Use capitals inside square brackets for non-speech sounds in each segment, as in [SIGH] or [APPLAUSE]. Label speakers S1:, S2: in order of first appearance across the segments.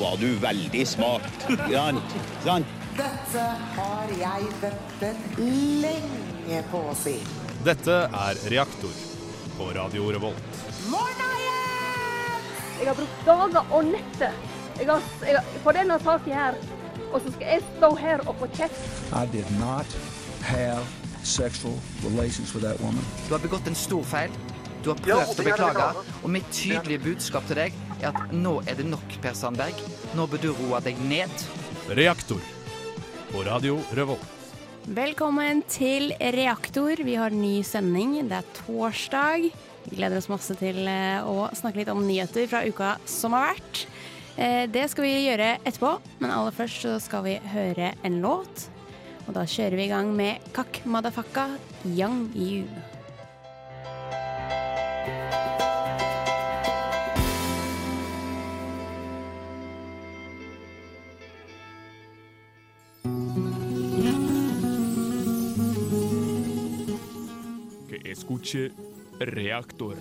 S1: var du veldig smart. Sant? Sant?
S2: Dette har jeg ventet lenge på å si.
S3: Dette er Reaktor på Radio Revolt.
S2: Morna igjen!
S4: Jeg har brukt dager og netter jeg har, jeg har, på denne saken her. Og så skal jeg stå her og få kjeft.
S5: I did not have sexual relations with that woman.
S6: Du har begått en stor feil. Du har prøvd å beklage. Og mitt tydelige budskap til deg er at nå er det nok, Per Sandberg. Nå bør du roe deg ned.
S3: Reaktor på Radio Revolt.
S7: Velkommen til Reaktor. Vi har ny sending. Det er torsdag. Vi gleder oss masse til eh, å snakke litt om nyheter fra uka som har vært. Eh, Det skal vi gjøre etterpå, men aller først så skal vi høre en låt. Og da kjører vi i gang med Kakk Madafakka, Yang Yu.
S8: que escuche Reactor.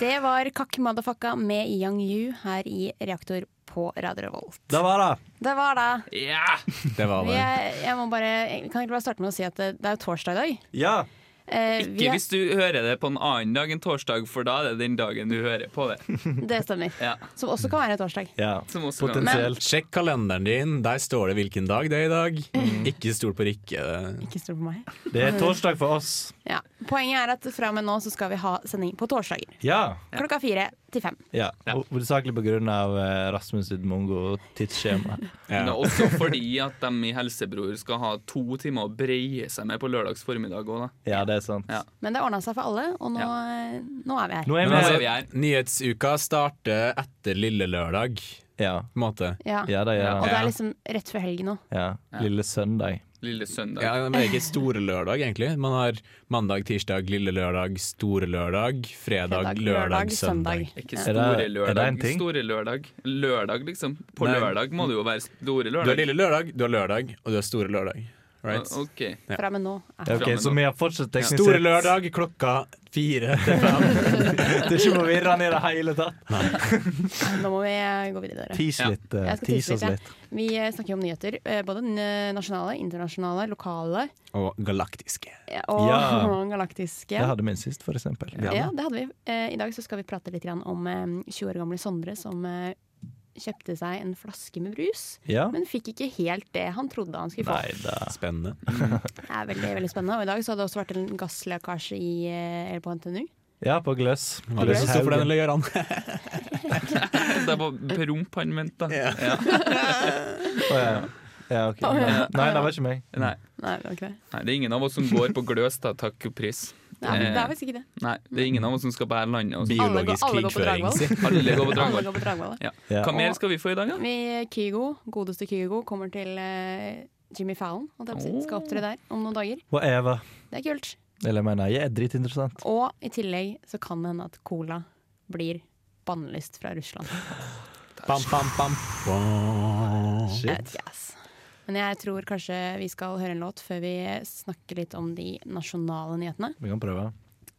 S7: Det var Kakk Madafakka med Yang Yu her i Reaktor på Radio Revolt.
S9: Det var det.
S7: Det var da.
S9: Det var
S7: Vi er, jeg må bare, jeg kan ikke bare starte med å si at det, det er jo torsdag i dag.
S9: Ja.
S7: Eh, vi
S10: Ikke
S7: er-
S10: hvis du hører det på en annen dag enn torsdag, for da er det den dagen du hører på det.
S7: Det stemmer.
S10: Ja.
S7: Som også kan være torsdag.
S9: ja.
S10: Som også kan-
S9: Potensielt.
S8: Sjekk kalenderen din, der står det hvilken dag det er i dag. Ikke stol på Rikke.
S7: Ikke stol på meg.
S9: Det er torsdag for oss.
S7: Ja. Poenget er at fra og med nå så skal vi ha sending på torsdager.
S9: Ja.
S7: Klokka fire til fem.
S9: ja. Ho- Hovedsakelig på grunn av eh, Rasmus sitt mongo-tidsskjema.
S10: Men også fordi at de i Helsebror skal ha to timer å breie seg med på lørdags formiddag òg, da.
S9: Ja, det er sant.
S10: Ja.
S7: Men det ordna seg for alle, og nå, eh, nå er vi her.
S9: Nå er
S10: Men altså,
S9: vi
S10: vi er
S8: Nyhetsuka starter etter lille lørdag, på
S9: Ja.
S8: en måte.
S7: Ja.
S9: Ja, det gjør
S7: Og
S9: han.
S7: det er liksom rett før helgen nå.
S9: Ja. Lille søndag.
S10: lille søndag.
S8: Ja, men det er ikke store lørdag, egentlig. Man har mandag, tirsdag, lille lørdag, store lørdag, fredag,
S7: Fredag, lørdag,
S8: lørdag,
S7: søndag.
S8: søndag.
S10: Ikke
S7: Ja.
S10: store
S9: Er det- er
S10: lørdag.
S9: det en ting?
S10: Store lørdag. Lørdag, liksom. På
S8: Nei.
S10: lørdag må det jo være store
S8: Du har
S10: lørdag.
S8: lille lørdag, du har lørdag, og du har store lørdag. Right?
S10: O- Ok.
S8: Ja.
S7: Fra og med nå. Ah, Er.
S9: Ok, Så vi har fortsatt teknisk
S8: Store
S9: sett-
S8: lørdag klokka fire.
S9: [LAUGHS] Det er ikke forvirrende i det hele tatt.
S7: Nå må vi eh, gå videre. dere.
S9: Tis
S10: Ja.
S9: litt. eh,
S7: Jeg skal
S9: tis
S7: tisse
S9: oss
S7: litt,
S9: litt.
S7: jeg. Vi eh, snakker jo om nyheter. eh, Både n- nasjonale, internasjonale, lokale
S8: [LAUGHS] Og galaktiske.
S7: eh, og [LAUGHS]
S9: Ja.
S7: galaktiske.
S9: Det hadde vi sist, for eksempel.
S7: Ja, det hadde vi. Eh, I dag så skal vi prate litt grann om eh, 20 år gamle Sondre som eh, kjøpte seg en flaske med brus,
S9: Ja.
S7: men fikk ikke helt det han trodde han skulle få.
S9: Nei da.
S8: Spennende.
S7: Det er veldig, veldig spennende. Og i dag så har det også vært en gasslekkasje i, eh, eller på NTNU.
S9: Ja, på gløss.
S8: Har du lyst til å stå for den,
S9: Gløshaugen.
S8: eller gjør han?
S10: Det var promp han mente, da. Ja.
S9: Å, ja. Ja, ok. Nei, nei, det var ikke meg.
S10: Nei.
S7: Nei, det var ikke det.
S10: Nei, det er ingen av oss som går på gløs, da. Takk og pris.
S7: Det er, det er faktisk ikke det.
S9: Eh,
S10: Nei, det er ingen av oss som skal bære landet. og så-
S7: Alle går-
S8: Biologisk
S7: alle går på
S8: krigføring,
S7: Dragvoll.
S8: si.
S10: Alle går på
S7: Alle
S10: Dragvoll.
S7: går på Dragvoll.
S10: Ja.
S9: Ja.
S10: Hva mer skal vi få i dag, da?
S7: Vi Kygo, godeste Kygo, kommer til eh, Jimmy Fallon. holdt jeg på å si. Skal opptre der om noen dager.
S9: Whatever.
S7: Det er kult.
S9: Eller jeg mener, jeg er dritinteressant.
S7: Og i tillegg så kan det hende at cola blir bannlyst fra Russland.
S8: Bam, bam, bam.
S7: Jeg vet ikke, ass. Men jeg tror kanskje vi skal høre en låt før vi snakker litt om de nasjonale nyhetene.
S9: Vi kan prøve.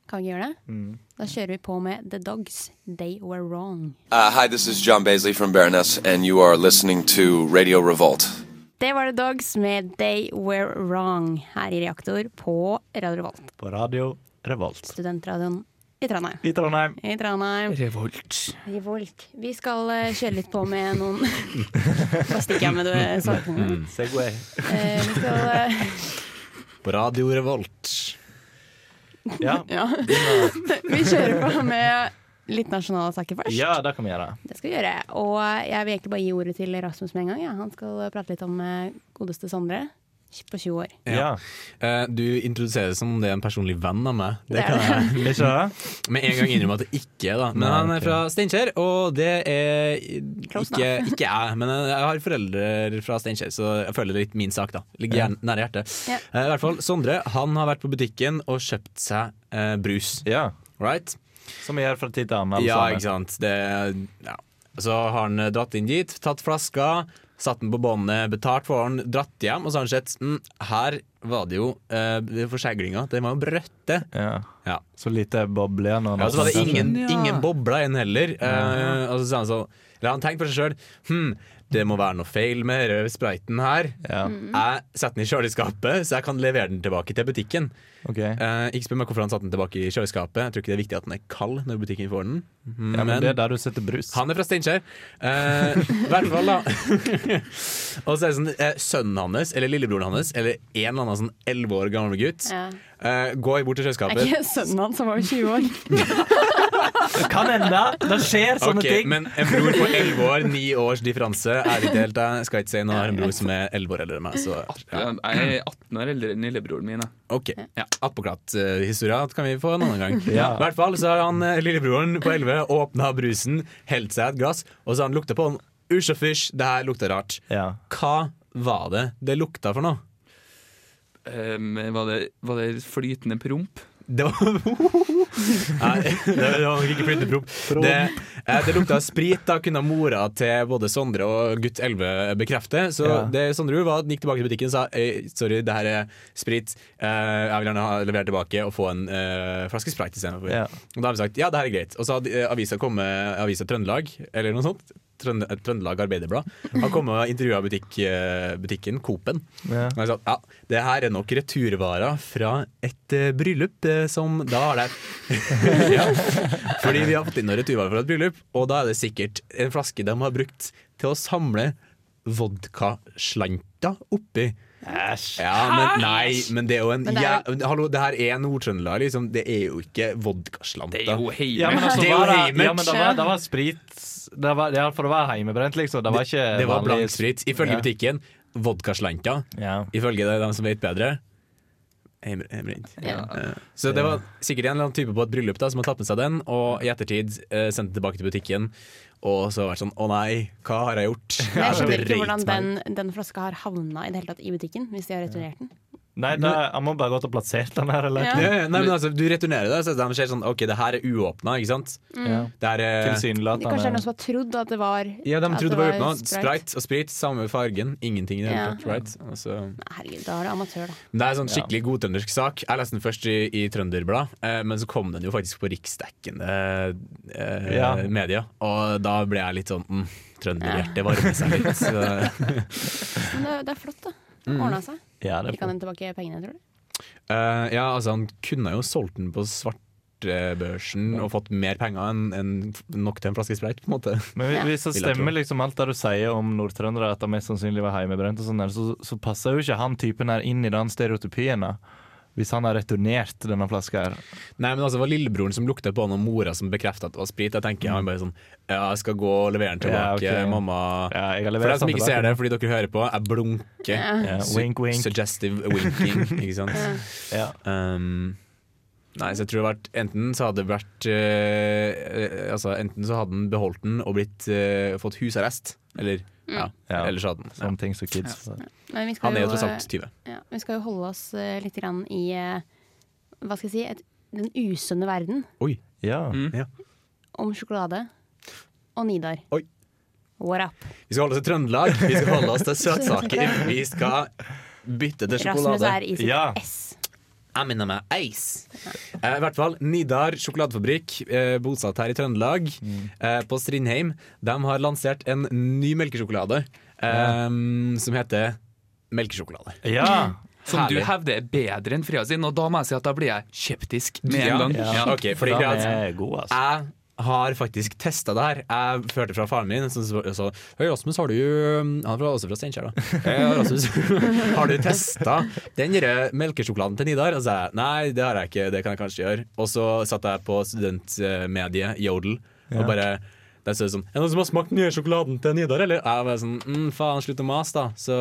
S7: Kan vi ikke gjøre det? Da kjører vi på med The Dogs, They Were Wrong.
S11: Uh, hi, this is John Baisley from Baroness, and you are listening to Radio Revolt.
S7: Det var The Dogs med They Were Wrong her i Reaktor på Radio Revolt.
S9: På Radio Revolt.
S7: Studentradioen i Trondheim.
S9: I Trondheim.
S7: I Trondheim.
S10: Revolt.
S7: Revolt. Vi skal eh, kjøre litt på med noen [LAUGHS] Da stikker jeg med det sakene.
S9: Segway.
S7: Eh, vi skal eh,
S8: På Radio Revolt.
S9: Ja.
S7: Ja. vi kjører på med litt nasjonale saker først.
S9: ja, det kan vi gjøre.
S7: Det skal vi gjøre. Og jeg vil egentlig bare gi ordet til Rasmus med en gang. Ja. Han skal prate litt om eh, godeste Sondre på 20 år.
S9: Ja.
S8: Eh, Du introduseres som om det er en personlig venn av meg.
S7: Det
S8: Det
S7: er
S8: kan jeg
S9: Ikke det?
S8: med en gang innrømme at det ikke er. da Men
S9: Nei,
S8: han er
S9: ok.
S8: fra Steinkjer, og det er
S7: Close
S8: ikke, ikke jeg. Men jeg har foreldre fra Steinkjer, så jeg føler det er litt min sak. da Ligger gjerne nær hjertet.
S7: Ja.
S8: Eh, I hvert fall, Sondre han har vært på butikken og kjøpt seg eh, brus.
S9: Ja.
S8: Right?
S9: Som vi gjør fra tid til annen. alle
S8: ja,
S9: sammen.
S8: ikke sant. Det, ja. Så har han eh, dratt inn dit, tatt flaska, satt den på båndet, betalt for den, dratt hjem, og så har han sett mm, Her var det jo eh, det er for skjeglinga. Den var jo brøtte.
S9: Ja. Så lite boble altså. igjen. og-
S8: Ja, så var det ingen,
S9: Ja. sånn,
S8: ingen bobla inn heller. Eh, og så sa han sånn Eller han tenkte på seg sjøl Hm, det må være noe feil med denne sprayten her.
S9: Mm.
S8: Jeg setter den i kjøleskapet, så jeg kan levere den tilbake til butikken. Eh, ikke spør meg hvorfor han satte den tilbake i kjøleskapet. Jeg tror ikke det er viktig at den er kald når butikken får den.
S9: Ja, men det er der du setter brus.
S8: Han er fra Steinkjer. Eh, I hvert fall, da. [LAUGHS] og så er det sånn eh, sønnen hans, eller lillebroren hans, eller en eller annen sånn elleve år gammel gutt,
S7: Ja.
S8: eh, går bort til
S7: Er
S8: kjøleskapet
S7: ikke sønnen hans som var 20
S8: [LAUGHS]
S7: år?
S9: Kan hende! Det skjer sånne
S8: Ok,
S9: ting.
S8: Men en bror på elleve år, ni års differanse, er ikke helt det. Skal ikke si noe. Jeg har en bror som er elleve år eldre enn meg. Så, ja.
S10: Jeg er 18 år eldre enn lillebroren min. jeg.
S8: Ok, Attpåklatt-historia kan vi få en annen gang.
S10: Ja.
S8: I hvert fall så har han eh, lillebroren på 11 åpna brusen, helt seg et glass, og så har han lukta på den. Usj og fysj, det her lukter rart. Hva var det det lukta for noe?
S10: Um, var, det, var det flytende promp?
S8: Det var [LAUGHS] Nei, det var nok ikke flyttepromp. Det, eh, det lukta sprit. Da kunne mora til både Sondre og gutt 11 bekrefte. Så
S9: Ja.
S8: det Sondre gjorde, var at han gikk tilbake til butikken og sa «Øy, sorry, det her er sprit. Eh, jeg vil gjerne ha levert tilbake og få en eh, flaske sprite istedenfor.
S9: Ja.
S8: Og da har vi sagt ja, det her er greit. Og så hadde eh, avisa kommet, avisa Trøndelag, eller noe sånt. Trønd- Trøndelag Arbeiderblad. Har kommet og intervjua butikk, eh, butikken Coop-en.
S9: Ja.
S8: Og jeg sa, ja, det her er nok returvarer fra et eh, bryllup eh, som da har det [LAUGHS] ja. Fordi vi har fått inn noen returvarer fra et bryllup, og da er det sikkert en flaske de har brukt til å samle vodkaslanter oppi. Æsj! Ja, men, nei, men det er jo en
S9: Men det er
S8: jæ- Hallo, det her er Nord-Trøndelag, liksom. Det er jo ikke vodkaslanter.
S10: Det er jo heimert.
S9: Ja, men altså,
S8: Det er jo
S9: var det,
S8: heimert.
S9: ja, men det, var, det var sprit det var, Ja, for det var heimebrent, liksom. Det var ikke
S10: eh,
S8: Det var
S9: vanlig-
S8: blank sprit. Ifølge
S9: Ja.
S8: butikken vodkaslanka. Ifølge det de som vet bedre. Heimre- Heimrent.
S9: Ja.
S8: Eh, Så det var sikkert en eller annen type på et bryllup da som har tatt med seg den, og i ettertid eh, sendt den tilbake til butikken. Og så vært sånn Å nei, hva har jeg gjort?
S7: Men jeg skjønner
S8: Dreit
S7: ikke hvordan
S8: meg.
S7: den, den flaska har havna i det hele tatt i butikken, hvis de har returnert den.
S9: Nei, da, jeg må bare gå til og plassere den her, eller?
S7: Ja.
S8: Ja, ja, nei, men altså, du returnerer det, så de ser sånn OK, det her er uåpna, ikke sant?
S7: Mm. Ja.
S8: Det her er
S7: Kanskje det er noen som har trodd at det var
S8: Ja, de
S7: at
S8: trodde det var uåpna.
S7: sprite.
S8: Sprite og sprit, samme fargen. Ingenting i det hele
S7: Ja.
S8: tatt. Right? Altså,
S7: Herregud, da er det amatør, da.
S8: Men Det er en sånn skikkelig godtrøndersk sak. Jeg leste den først i, i Trønderblad, eh, men så kom den jo faktisk på riksdekkende eh,
S9: Ja.
S8: media. Og da ble jeg litt sånn mm, Trønderhjertet varmer seg litt.
S7: [LAUGHS]
S8: Så.
S7: Men det, det er flott, da.
S8: Mm.
S7: Ordna seg.
S8: Ja, det er
S7: Vi kan hente tilbake pengene, tror du?
S8: Eh, ja, altså han kunne jo solgt den på svartebørsen og fått mer penger enn enn nok til en flaske sprayt, på en måte. [LAUGHS]
S9: Men hvis- hvis det
S8: Vil jeg tro.
S9: stemmer liksom alt det du sier om nordtrøndere, at det mest sannsynlig var heimebrent, og sånn der, så, så passer jo ikke han typen her inn i den stereotypien. da. Hvis han har returnert denne flaska her.
S8: Nei, men altså, det var lillebroren som lukta på han, og mora som bekrefta at det var sprit. Jeg tenker han bare sånn Ja, jeg skal gå og levere den tilbake,
S9: Ja, ok.
S8: mamma.
S9: jeg har
S8: For
S9: levert
S8: deg som
S9: den
S8: ikke
S9: tilbake.
S8: ser det, fordi dere hører på, jeg blunker.
S9: Ja. Ja,
S8: Su-
S9: wink, wink.
S8: Suggestive winking, ikke
S7: [LAUGHS]
S8: sant.
S9: Ja.
S8: Um, nei, så jeg tror det hadde vært Enten så hadde det vært eh, eh, Altså, enten så hadde han beholdt den og blitt eh, fått husarrest, eller
S7: Mm.
S8: ja, eller så hadde han
S9: Sånne ting som kids. Ja.
S7: Men vi skal
S8: Han er jo tross
S7: eh,
S8: alt 20.
S7: Ja, vi skal jo holde oss eh, litt grann i eh, hva skal jeg si, et, den usunne verden
S8: Oi.
S9: Ja.
S8: Mm.
S7: om sjokolade og Nidar.
S8: Oi.
S7: What up?
S8: Vi skal holde oss til Trøndelag, vi skal holde oss til søtsaker.
S7: [LAUGHS]
S8: Vi skal bytte til sjokolade.
S7: Rasmus er i sitt ess.
S8: Jeg minner meg eis. Eh, I hvert fall Nidar sjokoladefabrikk, eh, bosatt her i Trøndelag, eh, på Strindheim, de har lansert en ny melkesjokolade eh, som heter melkesjokolade.
S9: Ja.
S10: Som
S8: Herlig.
S10: du hevder er bedre enn Freia sin, og da må jeg si at da blir jeg skeptisk med en
S8: Ja.
S10: gang.
S8: Ja. Ok, fordi
S9: For den
S8: greia-
S9: er god, altså.
S8: Jeg har faktisk testa det her. Jeg førte fra faren min. Som sa Hei, Rasmus, har du Han er fra- også fra Steinkjer, da. [LAUGHS] «Hei, Rasmus, har du testa den derre melkesjokoladen til Nidar? Og så sa jeg nei, det har jeg ikke, det kan jeg kanskje gjøre. Og så satt jeg på studentmediet Jodel
S9: Ja.
S8: og bare der står det sånn Er det noen som har smakt den nye sjokoladen til Nidar, eller? Jeg var sånn mm, faen, slutt å mase, da. Så,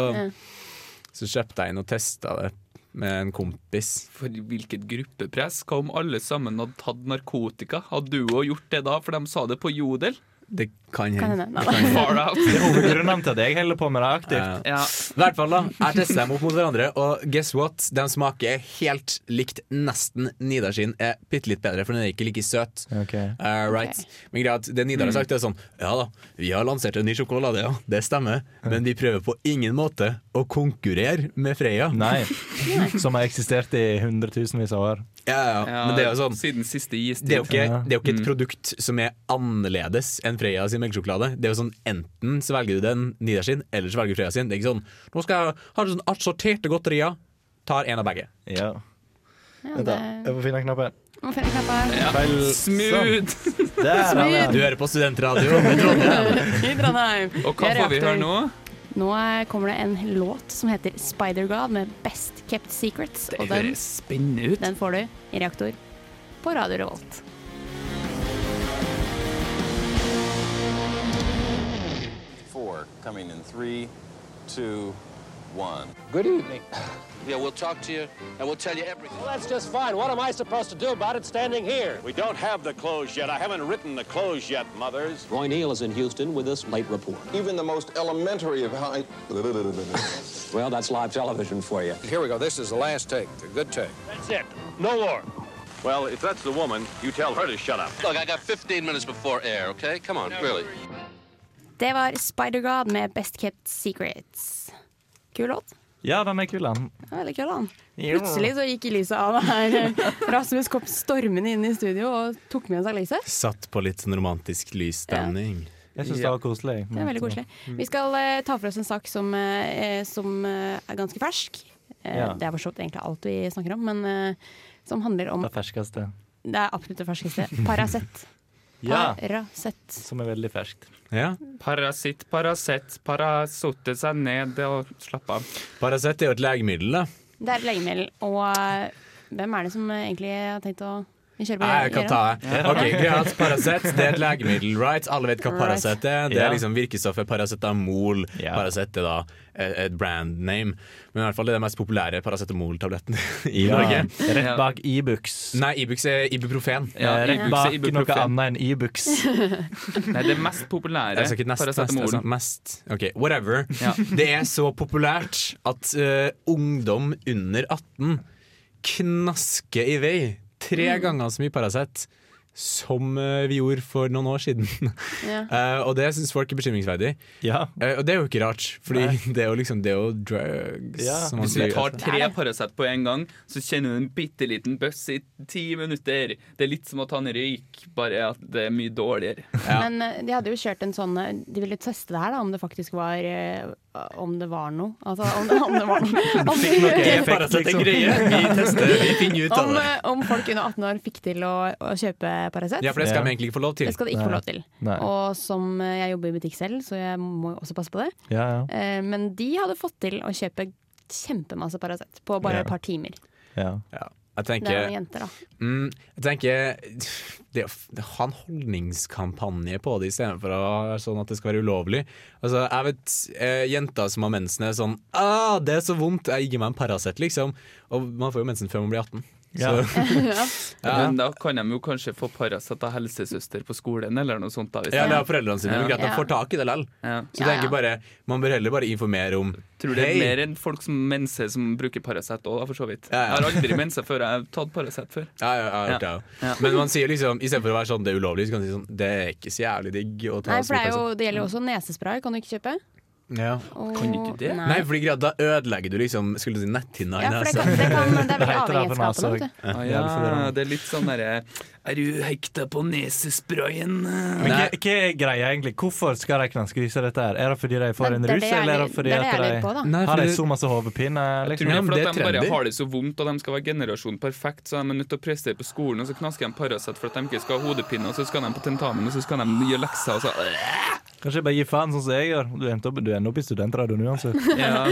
S8: så kjøpte jeg inn og testa det med en kompis.
S10: For hvilket gruppepress? Hva om alle sammen hadde tatt narkotika? Hadde du òg gjort det da, for de sa det på Jodel?
S8: Det kan
S7: Kan hende. Nei, da.
S10: Far out.
S9: Det er hovedgrunnen til at jeg holder på med det aktivt.
S10: Ja.
S8: I hvert fall da, jeg tester dem opp mot hverandre, og guess what? De smaker helt likt. Nesten Nidar sin er bitte litt bedre, for den er ikke like søt. Eh, right. Men greia er at det Nidar har sagt, er sånn Ja da, vi har lansert en ny sjokolade, ja, det stemmer, men vi prøver på ingen måte å konkurrere med Freya.
S9: [LAUGHS] Nei. Som har eksistert i hundretusenvis av år.
S8: Ja, ja, ja. [LAUGHS] Men det er jo sånn
S10: Siden siste istid.
S8: det er, jo ikke, det er jo ikke et
S10: Mm.
S8: produkt som er annerledes enn Freia sin melkesjokolade. Det er jo sånn Enten så velger du den Nidar sin, eller så velger du Freia sin. Det er ikke sånn Nå skal jeg ha sånn assorterte godterier. Tar en av begge.
S9: Ja.
S7: Ja,
S9: Vent,
S7: det
S9: da. Jeg får finne knappen.
S7: Nå finner jeg knappa her.
S10: Ja.
S9: Feil. Sånn.
S10: Smooth!
S9: Der, har vi den.
S8: Du hører på Studentradio i Trondheim.
S7: I Trondheim.
S10: Og hva
S7: Jeg er
S10: får vi
S7: reaktor.
S10: høre nå?
S7: Nå eh, kommer det en låt som heter Spider-God med Best Kept Secrets.
S10: Det
S7: Og den,
S10: høres spennende ut.
S7: den får du i reaktor på Radio Revolt.
S11: Four coming in three, two, one.
S1: Good evening.
S11: Yeah, we'll talk to you and we'll tell you everything.
S1: Well, that's just fine. What am I supposed to do about it standing here?
S11: We don't have the clothes yet. I haven't written the clothes yet, mothers.
S1: Roy Neal is in Houston with this late report.
S11: Even the most elementary of how.
S1: Well, that's live television for you.
S11: Here we go. This is the last take. A good take.
S1: That's it. No more.
S11: Well, if that's the woman, you tell her to shut up. Look, I got 15 minutes before air, okay? Come on, really.
S7: Det var Spider-God med Best Kept Secrets. Kul låt.
S9: Ja, den er kul, den.
S7: Ja, veldig kul, han.
S9: Jo.
S7: Plutselig så gikk lyset av
S8: [LAUGHS]
S7: her. Rasmus kom stormende inn i studio og tok med seg lyset.
S8: [LAUGHS] Satt på litt sånn romantisk lysstemning.
S9: Jeg syns det var koselig.
S7: Det er veldig koselig. Vi skal eh, ta for oss en sak som, eh, som eh, er ganske fersk. Eh,
S9: Ja.
S7: Det er for så vidt egentlig alt vi snakker om, men eh, som handler om
S9: Det ferskeste.
S7: Det er absolutt det ferskeste.
S8: [LAUGHS]
S7: Paracet.
S9: Ja.
S7: Paracet.
S9: Som er veldig ferskt.
S8: Ja.
S10: Parasitt, Paracet, parasotte seg ned og slapp av.
S8: Paracet er jo et legemiddel, da.
S7: Det er et legemiddel, og eh, hvem er det som eh, egentlig har tenkt å Vi kjører på
S8: Nei, Jeg kan ta det. Ok, greia er at Paracet det er et legemiddel, right? Alle vet hva
S7: Alright.
S8: Paracet er. Det
S9: Ja.
S8: er liksom virkestoffet paracetamol.
S9: Ja.
S8: Paracet er da et, et brand name. Men i hvert fall det er den mest populære paracetamol-tabletten [LAUGHS] i
S9: Ja.
S8: Norge.
S9: Rett bak Ibux.
S8: Nei, Ibux er ibuprofen.
S10: Ja,
S9: Eh, Rett
S10: Ibux er
S9: bak
S10: ibuprofen.
S9: noe annet enn Ibux.
S10: Nei, det mest populære
S8: Jeg sa ikke nest, nest, jeg sa
S10: paracetamolen.
S8: mest. Ok, whatever.
S7: [LAUGHS]
S10: Ja.
S8: Det er så populært at eh, ungdom under 18 knasker i vei tre
S7: Mm.
S8: ganger så mye Paracet som eh, vi gjorde for noen år siden. [LAUGHS]
S7: Ja.
S8: Eh, og det syns folk er bekymringsverdig.
S9: Ja.
S8: Eh, og det er jo ikke rart, Fordi [LAUGHS] det er jo liksom Det er jo drugs.
S9: Ja.
S8: som Altså, man
S10: Hvis du
S8: sier.
S10: tar tre Paracet på en gang, så kjenner du en bitte liten bøss i ti minutter. Det er litt som å ta en røyk, bare at det er mye
S8: [LAUGHS]
S10: dårligere.
S7: Men eh, de hadde jo kjørt en sånn eh, De ville teste det her, da, om det faktisk var eh, Om det var noe. Altså om det, om det
S8: [LAUGHS]
S7: var noe. Om,
S8: Er
S7: de,
S8: Paracet en greie? Vi tester, vi finner ut av
S7: om,
S8: det.
S7: eh, om folk under 18 år fikk til å, å kjøpe Paracet.
S8: Ja, for det skal vi egentlig ikke få lov til.
S7: Det skal de ikke få lov til.
S9: Nei.
S7: Og som eh, jeg jobber i butikk selv, så jeg må jo også passe på det.
S9: Ja, ja.
S7: Eh, Men de hadde fått til å kjøpe kjempemasse Paracet på bare
S9: Ja.
S7: et par timer.
S9: ja.
S8: Ja. Jeg
S7: Det er noen
S8: tenker, [LAUGHS]
S7: jenter, da.
S8: mm, jeg tenker [SIGHS] det, å f- Ha en holdningskampanje på det istedenfor å være sånn at det skal være ulovlig. Altså, jeg vet eh, jenter som har mensen er sånn ah, 'Det er så vondt, jeg gir meg en Paracet', liksom. Og man får jo mensen før man blir 18.
S9: Ja.
S8: Så
S10: [LAUGHS] Men da kan de jo kanskje få Paracet av helsesøster på skolen, eller noe sånt. da hvis
S8: ja,
S10: de-
S8: det er foreldrene sine. Men greit, de
S7: Ja.
S8: får tak i det likevel.
S10: Ja.
S8: Så
S7: Ja,
S8: jeg tenker
S7: ja.
S8: bare, Man bør heller bare informere om
S10: Tror det er
S8: «Hei,
S10: mer enn folk som menser som bruker Paracet òg, for så vidt.
S8: Ja, ja.
S10: Jeg har aldri mensa før. Jeg har tatt Paracet før.
S8: ja, ja, ja, ja.
S10: Ja.
S8: Men man sier liksom istedenfor å være sånn det er ulovlig, så kan man si sånn det er ikke så jævlig digg å ta
S7: Nei, for det, er jo,
S8: Paracet».
S7: det gjelder jo også nesespray, kan du ikke kjøpe?
S8: ja.
S7: Og,
S10: Kan ikke det?
S8: sånn». Nei, fordi greit, da ødelegger du liksom skulle du si netthinna i
S7: Ja, for det,
S8: nesa.
S7: kan, det, kan, det er
S9: Det
S7: veldig
S9: heter det på nesa
S7: avhengighetsskapende.
S9: òg.
S7: vet du.
S10: Ah,
S9: Ja, det får
S10: ja,
S9: jeg.
S10: det er litt sånn derre Er du hekta på nesesprayen?
S9: Men hva, hva er greia egentlig? Hvorfor skal de knaskevise dette? her? Er det fordi de får
S7: Men
S9: en
S7: det er
S9: rus,
S7: det jeg-
S9: eller er det fordi
S7: det er det
S9: at
S7: jeg lurer på, da.
S9: de
S8: Nei,
S9: har de
S8: fordi-
S9: så masse hodepine?
S10: Tror
S9: Liksom?
S10: det er
S8: men
S10: fordi
S8: det
S10: at de
S8: er
S10: bare
S8: trendy.
S10: har det så vondt, og de skal være generasjonen perfekt, så de er nødt til å prestere på skolen, og så knasker de Paracet for at de ikke skal ha hodepine, og så skal de på tentamen, og så skal de gjøre lekser, og så
S9: Kanskje jeg bare gi faen, sånn som jeg gjør. Du endte opp, du ender opp i altså. studentradioen uansett.
S7: [LAUGHS]
S10: Ja.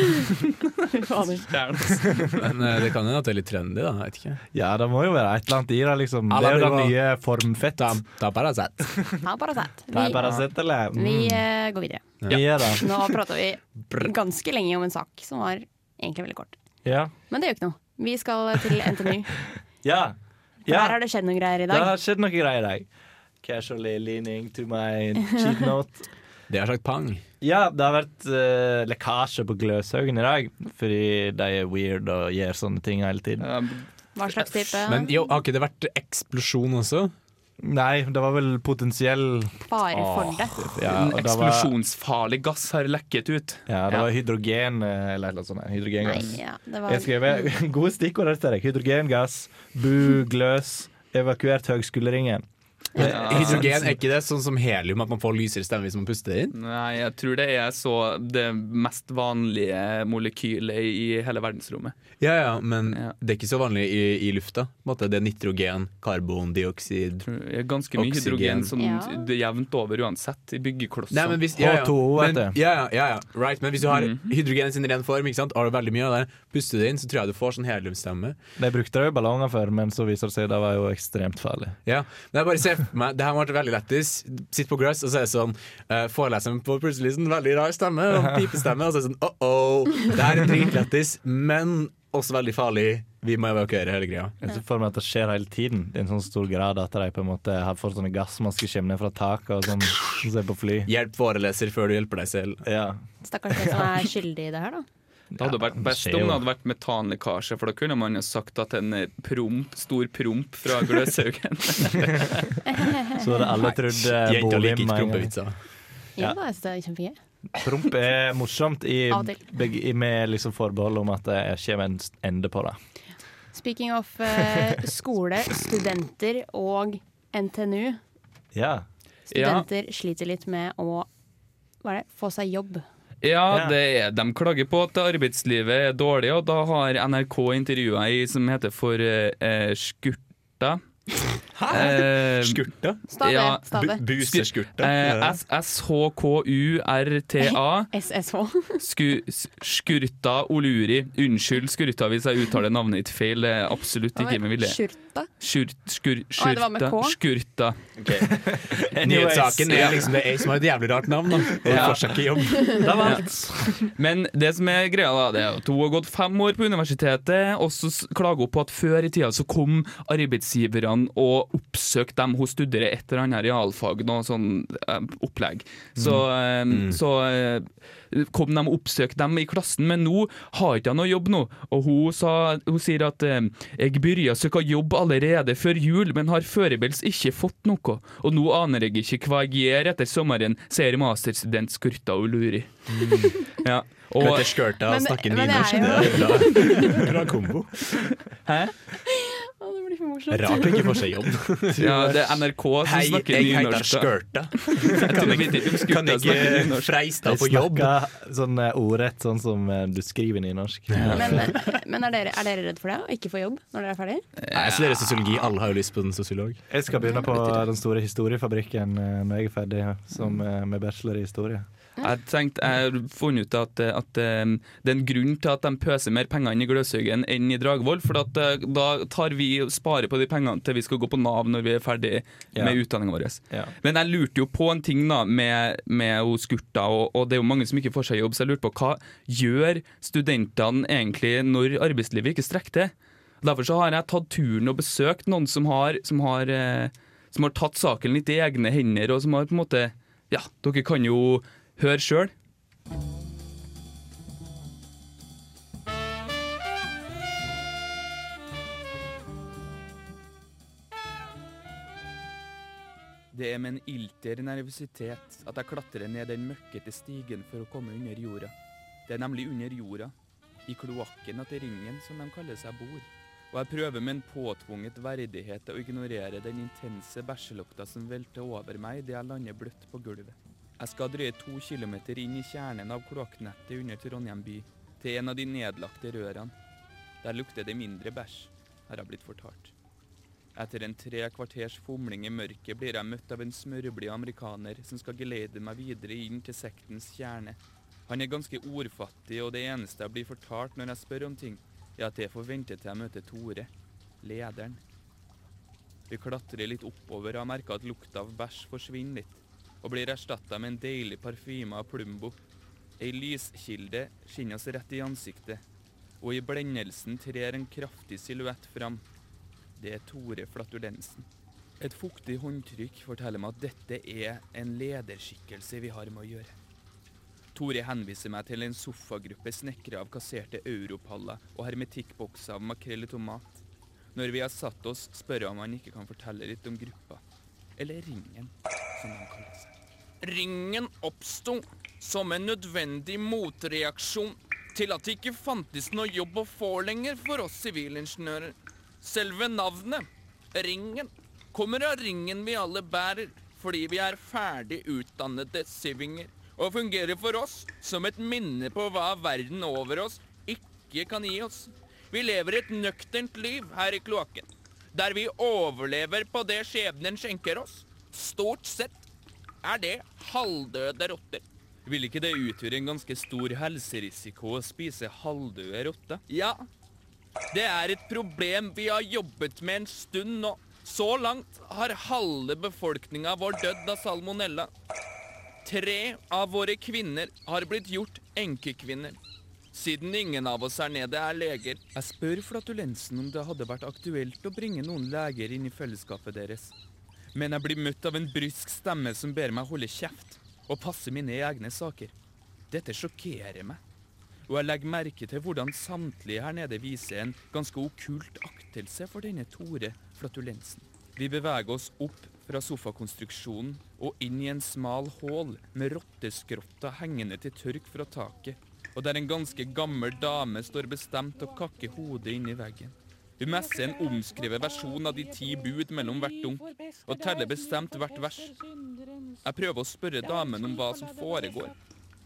S10: [LAUGHS] Stjern, altså.
S8: Men eh, det kan hende at det er litt trendy, da. Jeg vet ikke.
S9: Ja, det må jo være et eller annet i det, liksom.
S8: Ja,
S9: Det er jo
S8: det
S9: den
S8: var-
S9: nye formfett.
S8: Ta, ta Paracet.
S7: Ja, Paracet.
S9: Nei,
S7: Vi,
S9: bare sett, eller? Mm.
S7: vi eh, går videre.
S9: Vi er det.
S7: [LAUGHS] Nå prata vi ganske lenge om en sak som var egentlig veldig kort.
S9: Ja.
S7: Men det gjør ikke noe. Vi skal til NTNU.
S9: Ja.
S7: For
S9: ja.
S7: Der har det skjedd noen greier i
S9: Det
S7: dag.
S9: har skjedd noe greier i dag. Casually leaning to my cheat note. [LAUGHS]
S8: Det har sagt pang.
S9: Ja, det har vært eh, lekkasje på Gløshaugen i dag. Fordi de er weird og gjør sånne ting hele tiden.
S10: Ja,
S7: Hva slags type?
S8: Men jo, har ikke det vært eksplosjon også?
S9: Nei, det var vel potensiell
S7: Fare for det.
S9: Ja, og
S10: en
S9: det var-
S10: eksplosjonsfarlig gass har lekket ut.
S9: Ja, det var
S10: Ja.
S9: hydrogen eh, eller noe sånt. nei, Hydrogengass.
S7: Nei, ja, det var-
S9: Jeg skrev eh, [LAUGHS] gode stikkord her til deg. Hydrogengass, bu, gløs, evakuert høgskoleringen.
S8: Hydrogen, er ikke det sånn som helium, at man får lysere stemme hvis man puster det inn?
S10: Nei, jeg tror det er så det mest vanlige molekylet i hele verdensrommet.
S8: Ja, ja, men det er ikke så vanlig i, i lufta. På en måte. Det er nitrogen, karbondioksid
S10: Det er ganske mye hydrogen sånn
S7: Ja.
S10: det er jevnt over uansett i byggeklosser.
S8: Nei, men hvis, ja, ja.
S9: H2O, vet
S8: men,
S9: du.
S8: ja, ja, ja, ja, right. men hvis du har hydrogen i sin ren form, ikke sant? har du veldig mye av det, puster du det inn, så tror jeg du får sånn heliumstemme.
S9: De brukte det jo i ballonger før, men så viser det seg det var jo ekstremt farlig.
S8: Ja, men jeg bare ser for meg Det her ble veldig lettis. Sitt på grøss, og så er det sånn eh, Foreleseren får plutselig sånn veldig rar stemme, og pipestemme, og så er det sånn oh-oh. Det her er dritlettis, men også veldig farlig. Vi må evakuere hele greia.
S9: Jeg ser for meg at det skjer hele tiden, i en sånn stor grad at de på en måte har fått sånne gassmasker som kommer ned fra taket og sånn, som er på fly.
S8: Hjelp foreleser før du hjelper deg selv.
S9: Ja.
S7: Stakkars den som er skyldig i det her, da.
S10: Det hadde vært best
S9: skjer
S10: om
S9: jo.
S10: det hadde vært metanlekkasje, for da kunne man jo sagt at en eh, promp, stor promp [LAUGHS] fra Gløshaugen
S9: [LAUGHS] Så hadde alle trodd eh,
S8: Jenta liker
S9: Bolim
S8: ikke
S9: var-
S8: prompevitser.
S7: Ja,
S9: Ja.
S7: da, jeg synes det er kjempegøy.
S9: Promp er morsomt i,
S7: Av og til.
S9: beg- i- med liksom forbehold om at det kommer en ende på det.
S7: Speaking of eh, skole, studenter og NTNU.
S9: Ja.
S7: Studenter sliter litt med å hva er det? få seg jobb.
S10: Ja,
S9: Ja.
S10: det er, de klager på at arbeidslivet er dårlig, og da har NRK intervjua ei som heter for eh, eh, Skurta. [LAUGHS] Hæ?
S8: Skurta?
S7: Stave.
S10: Ja,
S7: stave.
S8: Bu- Buseskurta?
S10: Um, Eh, S- S-H-K-U-R-T-A.
S7: SSH.
S10: Sku, s- skurta Oluri. Unnskyld, Skurta, hvis jeg uttaler navnet ditt feil. Det er absolutt ikke med vilje.
S7: Skjorta.
S10: Skur, skur,
S7: Å, det var med
S10: skurta,
S7: K?
S10: skurta.
S8: Nyhetssaken er liksom det er ei som har et jævlig rart navn, da. Og
S10: Ja.
S8: får seg ikke jobb.
S10: Men det som er greia da, det er at hun har gått fem år på universitetet, og så s- klager hun på at før i tida så kom arbeidsgiverne og oppsøkte dem hun studerer et eller annet realfag, noe sånn eh, opplegg. Så, eh, så eh, kom de og oppsøkte dem i klassen, men nå har ikke jeg noe jobb nå. Og hun, sa, hun sier at eh, jeg begynte å søke jobb allerede før jul, men har foreløpig ikke fått noe. Og nå aner jeg ikke hva jeg gjør etter sommeren, sier masterstudent Skurta og Luri.
S8: Mm.
S10: [LAUGHS] Ja. Og,
S8: Møter skørta og
S7: Men-
S8: snakker
S7: men det er
S8: nynorsk. Det er bra,
S7: [LAUGHS]
S8: bra kombo.
S7: Å, det blir for morsomt.
S8: Rart å ikke får seg jobb.
S10: ja, det er NRK som
S8: Hei,
S10: snakker
S8: jeg heter
S10: nynorsk. da.
S8: Skørta.
S10: Jeg tror vi vet ikke om Skurta
S8: Kan [LAUGHS]
S10: snakker
S8: ikke
S10: nynorsk.
S8: Freistad
S9: Jeg
S8: få jobb?
S9: snakker sånn eh, ordrett, sånn som eh, du skriver i nynorsk.
S7: Men, eh, men er, dere, er dere redd for det? Å ikke få jobb når dere er ferdig?
S8: Nei, Jeg studerer sosiologi. Alle har jo lyst på en sosiolog.
S9: Jeg skal begynne på Den store historiefabrikken eh, når jeg er ferdig som, eh, med bachelor i historie.
S10: Jeg tenkte, jeg har funnet ut at, at um, det er en grunn til at de pøser mer penger inn i Gløshaugen enn i Dragvoll. For at, uh, da tar vi og sparer på de pengene til vi skal gå på Nav når vi er ferdig
S9: Ja.
S10: med utdanninga vår.
S9: Ja.
S10: Men jeg lurte jo på en ting da med, med hun Skurta, og, og det er jo mange som ikke får seg jobb, så jeg lurte på hva gjør studentene egentlig når arbeidslivet ikke strekker til? Derfor så har jeg tatt turen og besøkt noen som har, som har, eh, som har tatt saken litt i egne hender, og som har på en måte Ja, dere kan jo høre sjøl. Det er med en ilter nervøsitet at jeg klatrer ned den møkkete stigen for å komme under jorda. Det er nemlig under jorda, i kloakken etter ringen som de kaller seg bor. Og jeg prøver med en påtvunget verdighet å ignorere den intense bæsjelukta som velter over meg idet jeg lander bløtt på gulvet. Jeg skal drøye to kilometer inn i kjernen av kloakknettet under Trondheim by, til en av de nedlagte rørene. Der lukter det mindre bæsj, har jeg blitt fortalt. Etter en tre kvarters fomling i mørket blir jeg møtt av en smørblid amerikaner som skal geleide meg videre inn til sektens kjerne. Han er ganske ordfattig, og det eneste jeg blir fortalt når jeg spør om ting, er at jeg får vente til jeg møter Tore, lederen. Vi klatrer litt oppover og jeg merker at lukta av bæsj forsvinner litt, og blir erstatta med en deilig parfyme av Plumbo. Ei lyskilde skinner oss rett i ansiktet, og i blendelsen trer en kraftig silhuett fram. Det er Tore Flatulensen. Et fuktig håndtrykk forteller meg at dette er en lederskikkelse vi har med å gjøre. Tore henviser meg til en sofagruppe snekkere av kasserte europaller og hermetikkbokser av makrell i tomat. Når vi har satt oss, spør jeg om han ikke kan fortelle litt om gruppa. eller ringen, som de kaller seg. Ringen oppsto som en nødvendig motreaksjon til at det ikke fantes noe jobb å få lenger for oss sivilingeniører. Selve navnet, ringen, kommer av ringen vi alle bærer fordi vi er ferdig utdannede sivinger og fungerer for oss som et minne på hva verden over oss ikke kan gi oss. Vi lever et nøkternt liv her i kloakken, der vi overlever på det skjebnen skjenker oss. Stort sett er det halvdøde rotter. Vil ikke det utgjøre en ganske stor helserisiko å spise halvdøde rotter? Ja, det er et problem vi har jobbet med en stund nå. Så langt har halve befolkninga vår dødd av salmonella. Tre av våre kvinner har blitt gjort enkekvinner. Siden ingen av oss her nede er leger. Jeg spør flatulensen om det hadde vært aktuelt å bringe noen leger inn i fellesskapet deres. Men jeg blir møtt av en brysk stemme som ber meg holde kjeft og passe mine egne saker. Dette sjokkerer meg. Og jeg legger merke til hvordan samtlige her nede viser en ganske okkult aktelse for denne Tore Flatulensen. Vi beveger oss opp fra sofakonstruksjonen og inn i en smal hål med rotteskrotta hengende til tørk fra taket, og der en ganske gammel dame står bestemt og kakker hodet inn i veggen. Hun messer en omskrevet versjon av de ti bud mellom hvert dunk, og teller bestemt hvert vers. Jeg prøver å spørre damen om hva som foregår,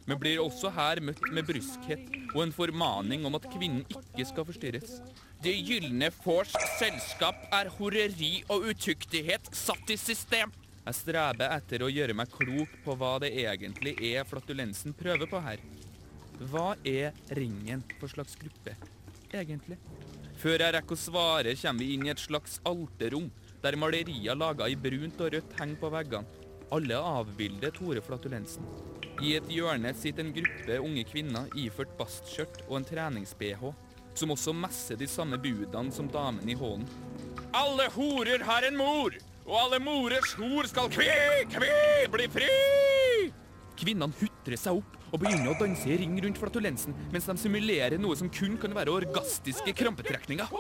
S10: men blir også her møtt med bryskhet og en formaning om at kvinnen ikke skal forstyrres. Det gylne vors selskap er horeri og utyktighet satt i system. Jeg streber etter å gjøre meg klok på hva det egentlig er flatulensen prøver på her. Hva er ringen for slags gruppe, egentlig? Før jeg rekker å svare, kommer vi inn i et slags alterrom, der malerier laga i brunt og rødt henger på veggene. Alle avbilder Tore Flatulensen. I et hjørne sitter en gruppe unge kvinner iført bastskjørt og en trenings-BH, som også messer de samme budene som damen i hånden. Alle horer har en mor, og alle morers hor skal kve, kve, bli fri! Kvinnene hutrer seg opp og begynner å danse i ring rundt flatulensen mens de simulerer noe som kun kan være orgastiske krampetrekninger.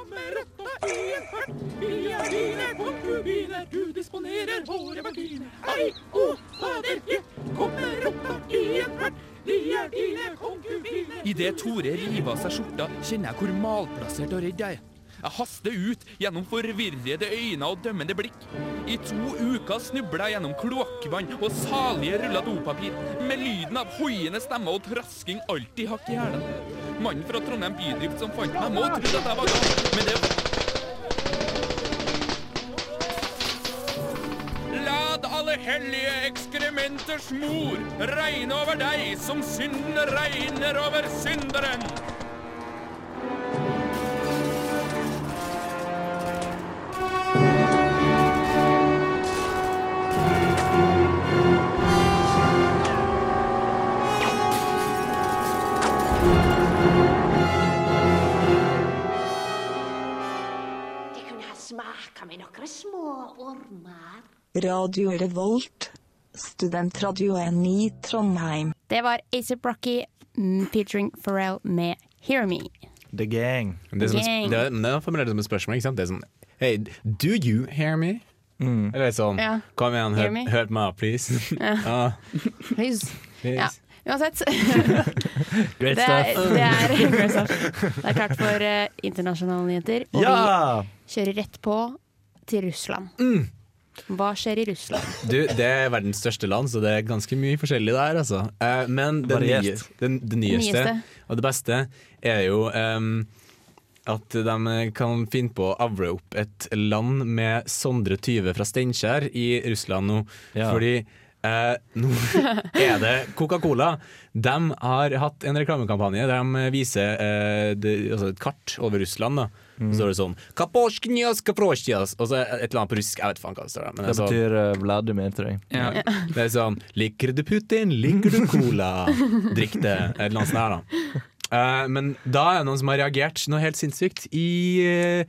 S10: Idet Tore river av seg skjorta, kjenner jeg hvor malplassert og redd jeg er. Jeg haster ut gjennom forvirrede øyne og dømmende blikk. I to uker snubler jeg gjennom kloakkvann og salige ruller dopapir, med lyden av hoiende stemme og trasking alltid hakk i hælen. Mannen fra Trondheim Bydrift som fant meg, må ha trodd at jeg var gal, men det Lad alle hellige ekskrementers mor regne over deg som synden regner over synderen.
S12: Det kunne ha smaka med nokre små ormar.
S13: Radio Revolt, studentradioen i Trondheim.
S7: Det var ASAP Rocky mm, featuring Pharrell med Hear Me.
S9: The gang.
S8: Men Det, er som,
S7: Gang.
S8: det, er- men det er formulert som et spørsmål. Ikke sant? Det er sånn Hey, do you hear me? Eller sånn
S7: Mm. Ja.
S8: Kom igjen,
S7: Hear
S8: hør,
S7: me?
S8: hør på meg, please.
S7: Ja.
S8: Ah,
S7: Please.
S8: [LAUGHS] please.
S7: Ja. Uansett. [LAUGHS]
S8: Great
S7: det er,
S8: stuff.
S7: Det er, [LAUGHS] great stuff. Det er klart for eh, internasjonale nyheter. Og
S9: Ja! Mm.
S7: vi kjører rett på til Russland. Hva skjer i Russland?
S8: Du, det er verdens største land, så det er ganske mye forskjellig der, altså. Eh, men det,
S9: Variert.
S8: nye, det, det nyeste,
S7: Nyeste.
S8: og det beste er jo em, at de kan finne på å avle opp et land med Sondre Tyve fra Steinkjer i Russland nå. Fordi eh, nå [LAUGHS] er det Coca-Cola. De har hatt en reklamekampanje der de viser eh, det, altså et kart over Russland. da
S9: Mm.
S8: Så står det sånn «Kaposhknyas, kaposhknyas», Og så et eller annet på russisk. Jeg vet faen hva det står. der, Men
S9: Det
S8: altså-
S9: betyr eh, Vladimir, tror jeg.
S8: ja. Det er sånn Liker du Putin, liker du cola? Drikk det. Et eller annet sånt her, da. Eh, men da er det noen som har reagert noe helt sinnssykt i, eh,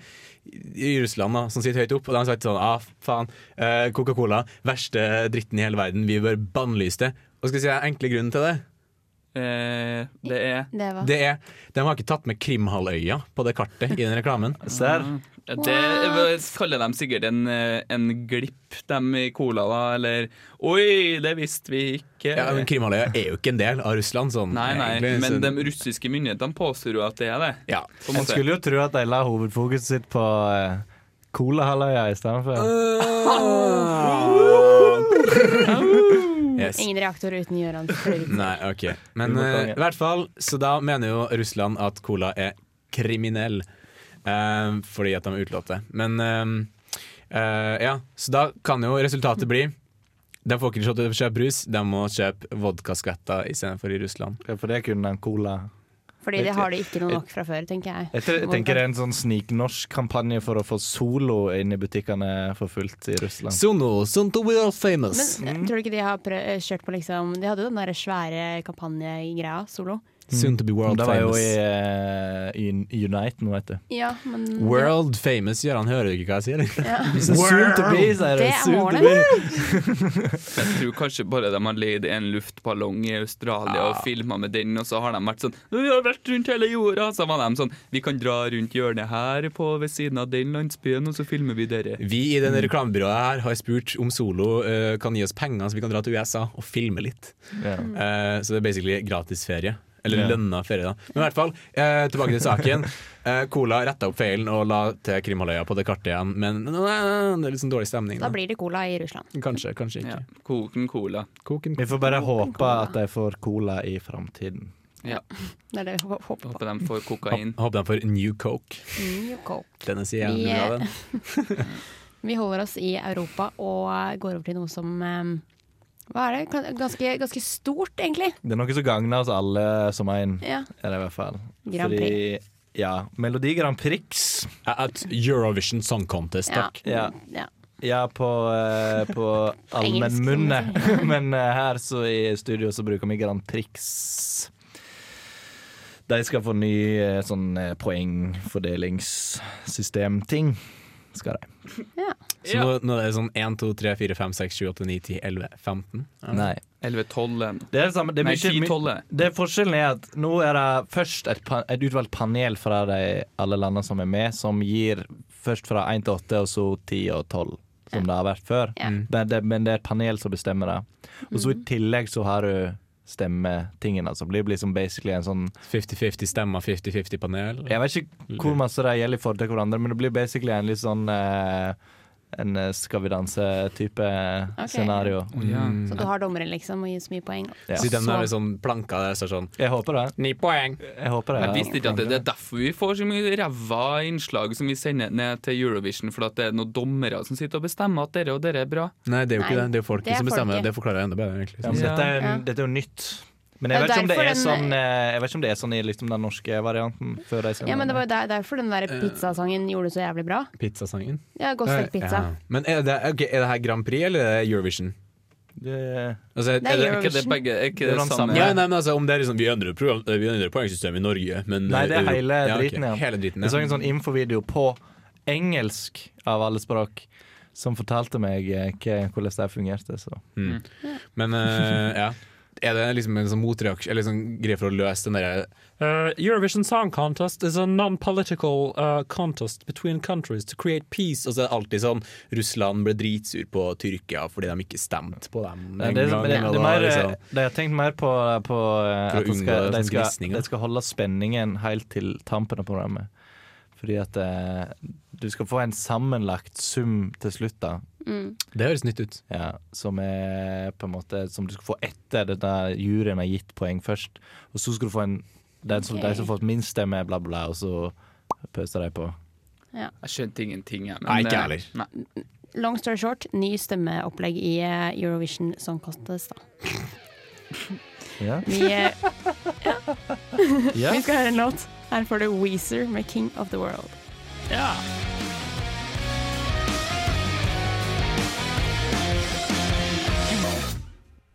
S8: i Russland, da, som sitter høyt opp. Og de har sagt sånn ah, faen, eh, Coca-Cola, verste dritten i hele verden, vi bør bannlyse det. Og skal jeg si deg enkle grunnen til det?
S10: Eh, det er
S7: Det var
S8: Det er, de har ikke tatt med Krimhalvøya på det kartet i den
S10: [LAUGHS]
S8: reklamen.
S7: Mm.
S10: Ja, Det hva kaller de sikkert en, eh, en glipp, de i cola, da, eller Oi, det visste vi ikke.
S8: Ja, men Krimhalvøya er jo ikke en del av Russland. Sånn,
S10: Nei, nei,
S8: egentlig,
S10: men
S8: så-
S10: de russiske myndighetene påstår jo at det er det.
S8: Ja.
S10: På en
S9: En
S10: måte.
S9: skulle jo tro at de la hovedfokuset sitt på eh, Colahalvøya i stedet
S7: Øh.
S9: for.
S8: Yes.
S7: ingen reaktor uten Gøran.
S8: Nei, ok. Men
S9: Vi må
S8: eh,
S9: fange.
S8: i hvert fall, så da mener jo Russland at cola er kriminell. eh, fordi at de er utelatt det. Men eh, eh, ja, så da kan jo resultatet bli de får ikke lov til å kjøpe brus, de må kjøpe vodkaskvetter istedenfor i Russland.
S9: Ja, for det kunne en cola
S7: Fordi det har de ikke noe nok fra før, tenker jeg.
S9: Jeg, tror, jeg tenker det er en sånn sniknorsk kampanje for å få Solo inn i butikkene for fullt i Russland.
S8: Sono, Sonto, we are famous.
S7: Men
S9: Mm.
S7: eh, tror du ikke de har prø eh, kjørt på liksom De hadde jo den der svære kampanjegreia, solo.
S8: Soon to Mm. be world
S9: det var jo
S8: famous.
S9: i, eh, i Unite nå, vet du.
S7: Ja, men
S8: World famous, Gøran, hører du ikke hva jeg sier? eller? [LAUGHS]
S7: Ja.
S8: Så soon to be, sier
S7: Det
S8: jeg.
S7: er
S8: Soon to
S7: målet.
S8: be.
S10: Jeg tror kanskje bare de har leid en luftballong i Australia og filma med den, og så har de vært sånn Vi har vært rundt hele jorda! Så var de sånn Vi kan dra rundt hjørnet her på ved siden av den landsbyen, og så filmer vi dere.
S8: Vi i denne reklamebyrået her har spurt om Solo eh, kan gi oss penger så vi kan dra til USA og filme litt.
S9: Ja.
S7: Mm.
S8: Eh, så det er basically gratisferie. Eller
S9: Ja.
S8: lønna ferie, da. Men i hvert fall, eh, tilbake til
S9: [LAUGHS]
S8: saken. Eh, Cola retta opp feilen og la til Krimhalvøya på det kartet igjen, men eh, det er litt sånn dårlig stemning.
S7: Da blir det cola i Russland.
S8: Kanskje, kanskje ikke.
S10: Koken cola.
S9: Vi får bare håpe at de får cola i framtiden.
S10: Ja.
S7: Det er det vi hå- håper på.
S10: Håper de får kokain.
S8: Håper de får New Coke.
S7: New Coke.
S8: Denne sier jeg
S7: Vi,
S8: jævlig bra,
S7: eh,
S8: den.
S7: Vi holder oss i Europa og går over til noe som eh, Hva er det? Kan- Ganske, ganske stort, egentlig.
S9: Det er noe som gagner oss alle som én,
S7: Ja.
S9: er det i hvert fall.
S7: Grand
S9: Fordi- Ja. Melodi Grand Prix.
S8: Eh, At Eurovision Song Contest,
S7: Ja.
S8: takk.
S9: Ja.
S7: Ja.
S9: Ja, på, eh, på
S7: Engelsk,
S9: allmennmunne. [LAUGHS] Men eh, her så i studio så bruker vi Grand Prix. De skal få ny eh, sånn eh, poengfordelingssystemting. Skal de.
S7: Ja.
S8: Så nå, nå er det sånn 1, 2, 3, 4, 5, 6, 7, 8, 9, 10, 11, 15? Ja.
S9: Nei.
S10: 11-12.
S9: Det er det samme. Det er
S10: Nei,
S9: mye-
S10: 10-12.
S9: Det Forskjellen er at nå er det først et, pa- et utvalgt panel fra de alle landene som er med, som gir først fra 1 til 8, og så 10 og 12, som det har vært før.
S7: Ja.
S10: Mm.
S7: Mm.
S9: Men, det, men det er et panel som bestemmer det. Og så i tillegg så har du stemmetingene, som blir liksom basically en sånn
S8: 50-50 stemmer, 50-50-panel?
S9: Jeg vet ikke
S10: Mm.
S9: hvor masse de gjelder i forhold til hverandre, men det blir basically en litt sånn eh, en eh, Skal vi danse-type
S7: Ok.
S9: scenario.
S10: Oh,
S7: Så du har dommeren, liksom, og gir så mye poeng.
S9: Ja.
S8: Så den
S7: Så-
S8: er liksom planka der, så er det sånn
S9: Jeg håper det.
S8: Ni poeng!
S9: Jeg håper det.
S10: Jeg visste ikke at det, det er derfor vi får så mye ræva innslag som vi sender ned til Eurovision, for at det er noen dommere som sitter og bestemmer at dere og dere er bra.
S8: Nei, det er jo ikke
S7: Nei,
S8: det. Det er jo folket
S7: det er
S8: som bestemmer.
S7: folket.
S8: Det forklarer jeg enda bedre, egentlig.
S9: Ja, men
S10: Ja.
S9: dette, er,
S7: Ja.
S9: dette er jo nytt. Men jeg
S7: Det er
S9: vet, ikke om det er
S7: derfor den-
S9: sånn, eh, jeg vet ikke om det er sånn i liksom den norske varianten. Før de sender
S7: Ja, men det
S9: den.
S7: var jo der, derfor den der pizzasangen gjorde det så jævlig bra.
S8: Pizzasangen.
S7: Ja, godt stekt pizza.
S8: Ja. Men er det, ok, er det her Grand Prix eller er det Eurovision?
S9: Det-
S8: Altså, er
S7: Det
S8: det-
S7: er
S10: Er ikke det
S7: Eurovision.
S10: begge er ikke
S9: Det er
S10: det,
S9: de
S10: samme?
S9: samme.
S8: Ja, nei, men altså, om det er liksom, vi endrer, program, vi endrer poengsystemet i Norge, men eh,
S9: Nei, det er
S8: Euro-
S9: hele
S8: Ja, ok,
S9: driten igjen.
S8: Hele driten,
S9: Jeg så en
S8: ja.
S9: sånn infovideo på engelsk, av alle språk, som fortalte meg eh, hva- hvordan det fungerte. Så.
S8: Mm. Men eh, ja. Er det liksom en sånn motreaksjon, eller sånn greie for å løse den derre
S14: Uh, Eurovision Song Contest is a non-political uh, contest between countries to create peace.
S8: Og så er det alltid sånn Russland ble dritsur på Tyrkia fordi de ikke stemte på dem.
S9: Ja, det, er- sånn,
S8: en gang, og
S9: men det, det er
S8: da
S9: mer, eh,
S8: liksom-
S9: de har tenkt mer på, på
S8: For å
S9: eh, at de
S8: unngå
S9: skal, de,
S8: sånn
S9: skal,
S8: gnisninger.
S9: de skal holde spenningen helt til tampen av programmet. Fordi at eh, du skal få en sammenlagt sum til slutt, da.
S7: Mm.
S8: Det høres nytt ut.
S9: Ja, som er på en måte Som du skal få etter det der juryen har gitt poeng først. Og så skal du få en Den som,
S7: Ok.
S9: de som har fått minst stemme, bla, bla, og så pøser de på.
S10: Jeg skjønte ingenting, jeg. men- eh,
S8: Nei, ikke jeg heller.
S10: Nei.
S7: Long story short, ny stemmeopplegg i eh, Eurovision Song Contest, da.
S9: Ja.
S8: [LAUGHS]
S7: Vi, eh, vi skal høre en låt. Her får du Weezer med 'King of the World'.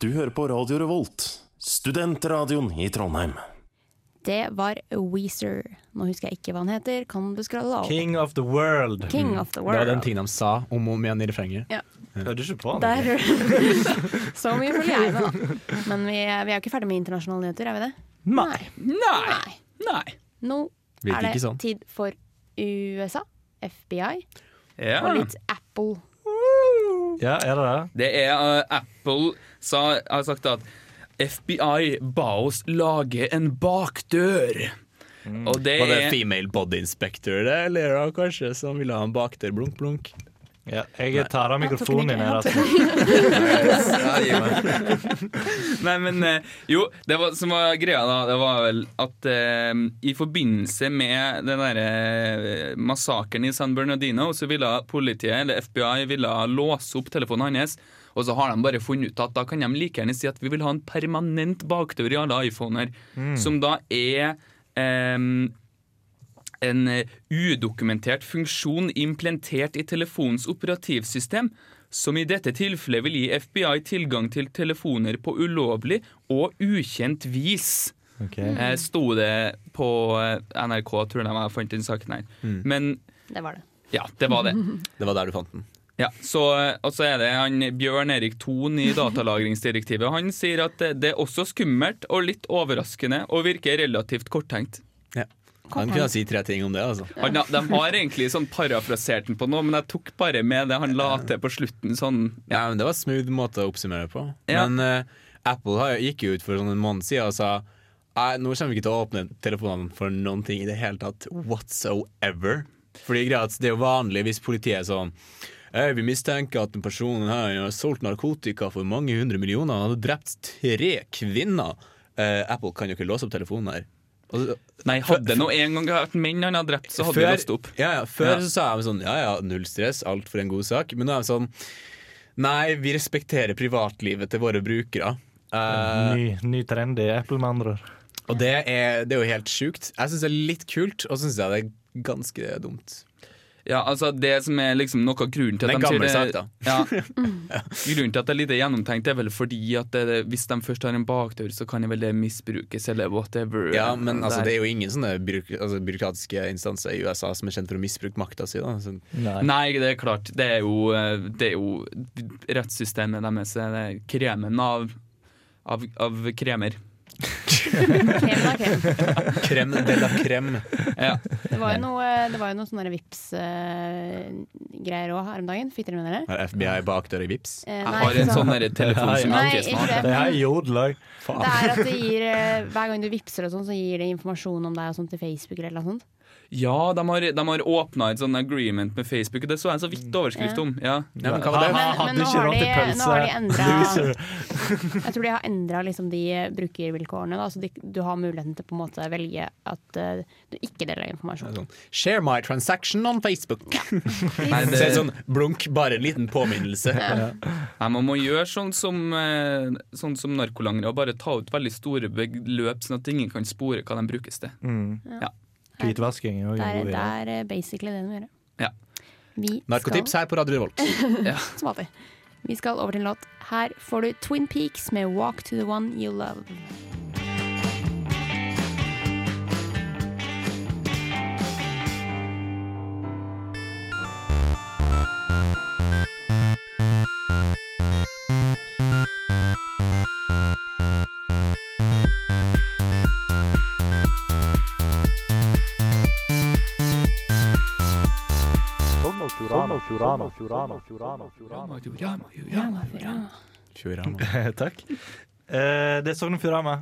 S15: Du hører på Radio Revolt, studentradioen i Trondheim.
S7: Det var Weezer. Nå husker jeg ikke hva han heter. Kan du skrolle opp?
S9: King of the world.
S7: King of the
S8: Det var den
S7: world.
S8: tingen de sa om og om igjen i refrenget.
S7: Ja.
S9: Hører ikke på han.
S7: Der, [LAUGHS] så mye følger jeg med, da. Men vi, vi er jo ikke ferdig med internasjonale nyheter, er vi det?
S9: Nei.
S7: Nei. Nå
S8: Virker
S7: er det
S8: ikke sånn.
S7: tid for USA, FBI
S10: Ja.
S7: og litt Apple.
S9: Ja, er det det?
S10: Det er eh, Apple sa, har sagt at FBI ba oss lage en bakdør. Og det
S8: Var det
S10: er
S8: female body inspector det, eller da, kanskje, som ville ha en bakdør? Blunk, blunk.
S9: Ja, jeg tar av mikrofonen din her.
S10: Nei, men eh, jo, det var, som var greia da, det var vel at eh, i forbindelse med den derre eh, massakren i San Bernardino, så ville politiet, eller FBI, ville låse opp telefonen hans. Og så har de bare funnet ut at da kan de like gjerne si at vi vil ha en permanent bakdør i alle iPhoner,
S9: Mm.
S10: som da er eh, en eh, udokumentert funksjon implementert i telefonens operativsystem, som i dette tilfellet vil gi FBI tilgang til telefoner på ulovlig og ukjent vis. Eh, Sto det på eh, NRK, tror jeg jeg fant den saken her. Men
S7: Det var det.
S10: ja, det var det.
S8: Det var der du fant den.
S10: Ja, så, eh, og så er det han Bjørn Erik Thon i datalagringsdirektivet. Han sier at eh, det er også skummelt og litt overraskende og virker relativt korttenkt.
S8: Ja. Han kunne si tre ting om det, altså.
S10: Han, de har egentlig sånn parafrasert den på noe, men jeg tok bare med det han la til på slutten. Sånn,
S8: ja. men Det var en smooth måte å oppsummere på.
S10: Ja.
S8: Men eh, Apple har, gikk jo ut for sånn en måned siden og sa Nei, nå kommer vi ikke til å åpne telefonene for noen ting i det hele tatt. Whatsoever. Fordi greia er at Det er jo vanlig hvis politiet er sånn «Hei, vi mistenker at den personen her har solgt narkotika for mange hundre millioner. Han hadde drept tre kvinner. Eh, Apple, kan jo ikke låse opp telefonen her? Og-
S10: Nei, hadde nå en gang vært menn han hadde drept, så hadde vi låst opp.
S8: ja, ja, før
S10: Ja.
S8: så sa jeg sånn Ja ja, null stress, alt for en god sak. Men nå er det sånn Nei, vi respekterer privatlivet til våre brukere. Eh,
S9: [LAUGHS] Ny, ny trend i Apple, med andre ord.
S8: og det er, det er jo helt sjukt. Jeg syns det er litt kult, og så syns jeg det er ganske dumt.
S10: Ja, altså Det som er liksom noe av grunnen til at
S8: Det er
S10: de sier
S8: gammel
S10: det
S8: sak, da.
S10: [LAUGHS] Ja. Grunnen til at det er lite gjennomtenkt, er vel fordi at det, hvis de først har en bakdør, så kan det vel det misbrukes, eller whatever.
S8: Ja, men altså,
S10: Der.
S8: det er jo ingen sånne byråk altså, byråkratiske instanser i USA som er kjent for å misbruke makta si. Da. Så,
S10: Nei, det er klart. Det er jo, eh, det er jo rettssystemet deres. Det er kremen av, av, av kremer.
S8: Krem de la krem.
S10: Ja.
S7: Det var jo noe, det var jo noe sånn sånne Vipps-greier òg eh, her om dagen. Fikk dere med dere?
S8: Har FBI bakdør i Vips?
S7: Eh, Jeg nei, har en ikke sånn. sånn der telefon som Nei, ikke er smart. ikke det,
S9: Det
S7: men-
S9: er jodelag.
S7: Det er at det gir, eh, Hver gang du vippser, og sånn, så gir det informasjon om deg og sånn til Facebook. eller noe sånt.
S10: Ja, de har, de har åpna et sånn agreement med Facebook, og det så jeg en så vidt overskrift
S7: Mm, Ja.
S10: om. Ja.
S8: Ja, men hva var det? Men- men
S7: Men nå har de, nå har de
S8: [LAUGHS]
S7: endra Jeg tror de har endra liksom de brukervilkårene. Da, så de, du har muligheten til på en måte velge at eh, du ikke deler informasjon.
S8: Sånn, Share my transaction on Facebook.
S10: Nei, det-
S8: Så er det sånn blunk, bare en liten påminnelse.
S10: Ja. Nei, man må gjøre sånn som, eh, sånn som narkolangere, og bare ta ut veldig store beløp, sånn at ingen kan spore hva de brukes til.
S9: Mm.
S10: Ja.
S9: Hvitvasking er jo
S7: Det
S9: en
S7: er,
S9: god
S7: det
S9: idé.
S7: er eh, basically det de gjør.
S10: Ja.
S7: Vi
S8: Narkotips her på Radio Revolt.
S7: Som alltid. Vi skal over til en låt. Her får du Twin Peaks med 'Walk to the One You Love'.
S9: Fjorama. [LAUGHS] Takk. Eh, det er Sogn og Fjordane.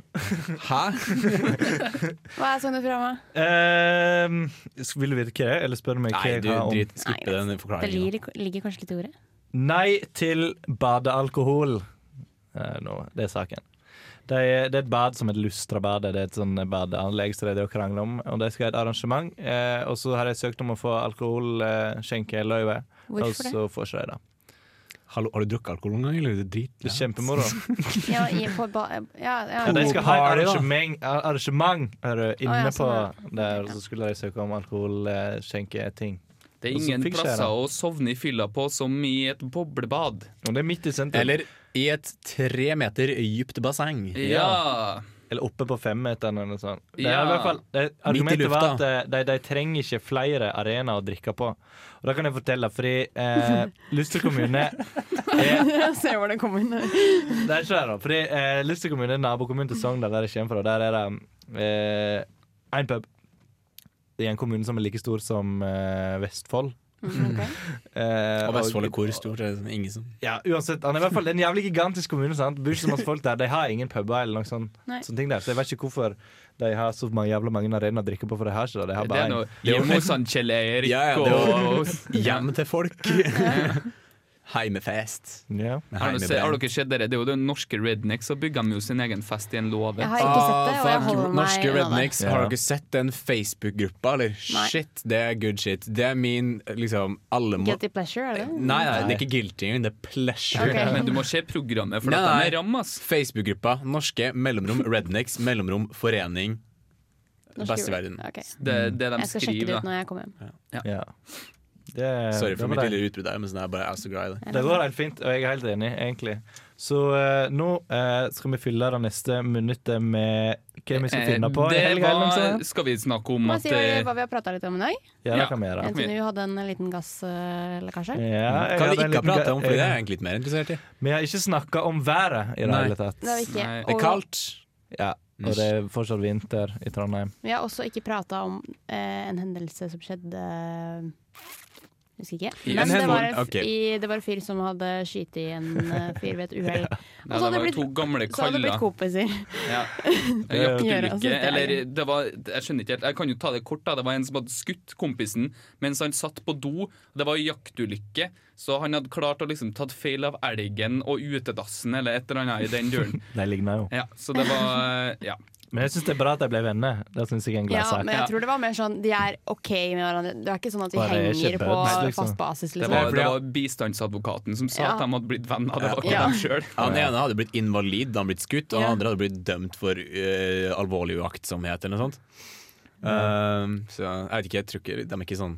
S9: Hæ?
S7: Hva er sånn det programmet?
S9: Ehm, sk- vil du vite hva det er, eller spør du meg hva
S8: Nei,
S9: jeg
S8: du
S9: har om
S8: drit, skippe den
S7: Det
S8: forklaringen.
S7: ligger, ligger kanskje litt i ordet?
S9: Nei til badealkohol. Eh, nå, det er saken. Det er, det er et bad som heter Lustrabadet. Det er et sånn badeanlegg som de driver og krangler om. Og de skal ha et arrangement. Eh, og så har de søkt om å få eh, alkoholskjenkeløyve.
S7: Hvorfor
S9: og så får ikke de det.
S8: Hallo, har du drukket alkohol noen gang? Eller er det drit? liksom?
S9: Det er kjempemoro.
S8: [LAUGHS]
S7: Ja, i, på ba, ja, ja.
S9: Ja, de skal ha et arrangement, arrangement er du, inne
S7: ja,
S9: på
S7: sånn,
S9: der, og så skulle de søke om eh, alkoholskjenketing.
S10: Det er ingen plasser å sovne i fylla på som i et boblebad.
S9: Og det er midt i sentrum.
S8: Eller i et tre meter dypt basseng.
S10: Ja.
S9: Eller oppe på femmeteren eller noe sånt. Det er
S10: Ja.
S9: i hvert fall, det,
S8: Midt i
S9: argumentet var
S8: lufta.
S9: at eh, de, de trenger ikke
S8: [LAUGHS]
S9: flere arenaer å drikke på. Og det kan jeg fortelle, fordi eh, Luster kommune
S7: [LAUGHS] Se hvor det kommer
S8: Mm.
S7: inn.
S9: Det er ikke det, da. Fordi eh, Lister kommune er nabokommunen til Sogndal, der jeg kommer fra. Der er det eh, en pub i en kommune som er like stor som eh, Vestfold.
S7: Mm, ok.
S9: Eh,
S8: Og Vestfold er hvor stort? Er det ingen som
S9: Ja, uansett. Han er i hvert fall en jævlig gigantisk kommune. sant? Det Bor ikke så masse folk der. De har ingen puber eller noe sånn,
S8: Nei.
S9: sånne ting der. Så jeg vet ikke hvorfor de har så mange jævla mange arenaer å drikke på, for de har ikke det. De har
S8: Det er
S9: bare
S8: noe-
S9: en.
S8: det er jo
S10: sånn Kjell Erik
S8: Ja, ja, det var [LAUGHS] hjem til folk. [LAUGHS] Heimefest.
S9: Ja.
S10: Har, dere, har dere sett dere? Det er jo det norske rednecks, så bygger de jo sin egen fest i en låve.
S7: Jeg har ikke sett det, og jeg
S8: Ah, Fuck,
S7: holder meg
S8: Norske
S7: unna det.
S8: rednecks, har dere sett den Facebook-gruppa, eller?
S7: Nei.
S8: Shit, det er good shit. Det er min liksom alle må
S7: Guilty pleasure, er det?
S8: Nei, nei, det er ikke guilty, det er pleasure.
S7: Ok. Men du
S10: må se programmet, for
S8: Nei,
S10: at de
S8: nei.
S10: er ram, ass.
S8: Facebook-gruppa Norske mellomrom rednecks mellomrom forening best i verden.
S7: Ok.
S10: Det er det de
S7: Jeg skal sjekke det
S10: skriver,
S7: ut
S10: da.
S7: når jeg kommer hjem.
S9: Ja. Det-
S8: Sorry
S9: det
S8: for
S9: var
S8: mitt
S9: det.
S8: lille utbrudd der, men sånn er jeg bare jeg er så glad i det.
S9: Det går helt fint, og jeg er helt enig, egentlig. Så eh, nå eh, skal vi fylle det neste minuttet med hva vi skal
S10: Eh,
S9: finne på. i
S10: det
S9: helga, eller noe
S10: var-
S9: sånt.
S10: Skal vi snakke om
S7: Må
S10: at
S7: jeg si hva,
S10: eh,
S7: hva vi har prata litt om i dag?
S9: Ja, det kan vi gjøre.
S7: NTNU hadde en liten eh, gasslekkasje.
S9: jeg
S8: kan
S9: hadde
S8: vi
S9: en
S8: ikke
S9: liten
S8: prate om,
S9: ga-
S8: for det er
S9: jeg-
S8: jeg egentlig litt mer interessert i.
S9: Vi har ikke snakka om været i det
S8: Nei.
S9: hele tatt.
S7: Det har vi ikke. Nei.
S8: Det er kaldt.
S9: Ja, og det er fortsatt vinter i Trondheim.
S7: Vi har også ikke prata om eh, en hendelse som skjedde eh, Husker ikke.
S9: I
S7: Men
S9: en
S7: det var,
S9: hendel-
S7: en f-
S9: ok.
S7: i, det var en fyr som hadde skutt i en eh, fyr ved et uhell.
S10: Nei,
S7: Og så
S10: det
S7: hadde
S10: var
S7: det
S10: to gamle
S7: blitt, så hadde det
S10: [LAUGHS] kaller.
S7: blitt kompiser.
S10: Ja.
S7: Det er jo- Gjør altså
S10: Jaktulykke,
S7: det,
S10: eller
S7: ja.
S10: det var Jeg skjønner ikke helt. Jeg kan jo ta det kort, da. Det var en som hadde skutt kompisen mens han satt på do. Det var jaktulykke, så han hadde klart å liksom tatt feil av elgen og utedassen eller et eller annet i den duren.
S9: De ligner jo.
S10: Ja, så det var
S7: [LAUGHS]
S10: Ja.
S9: Men jeg syns det er bra at de ble venner. Det synes jeg er en glad
S7: Ja,
S9: sak.
S7: men jeg tror det var mer sånn de er OK med hverandre. Det er ikke sånn at de
S9: Bare
S7: henger
S9: ikke
S7: på
S9: buds, liksom.
S7: fast basis,
S10: Det
S7: liksom.
S10: var, det var bistandsadvokaten som sa
S7: Ja.
S10: at de hadde blitt venner. Det var ikke
S7: Ja.
S10: dem sjøl.
S8: Han ene hadde blitt invalid da han blitt skutt, og
S7: Ja.
S8: han andre hadde blitt dømt for eh, alvorlig uaktsomhet eller noe sånt. Um, så jeg vet ikke, jeg tror ikke de er ikke sånn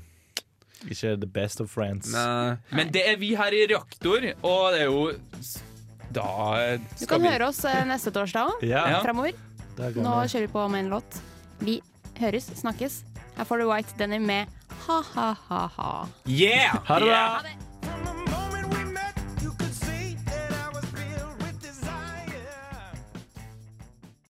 S9: Ikke the best of friends.
S10: Eh, Men det er vi her i reaktor, og det er jo Da
S7: Du kan høre oss eh, neste torsdag òg,
S10: Ja.
S7: framover.
S10: Der går
S7: Nå
S10: det.
S7: kjører vi på med en låt. Vi høres, snakkes. Her får du White Denny med ha-ha-ha-ha.
S8: Yeah!
S7: Ha det bra. Ha det.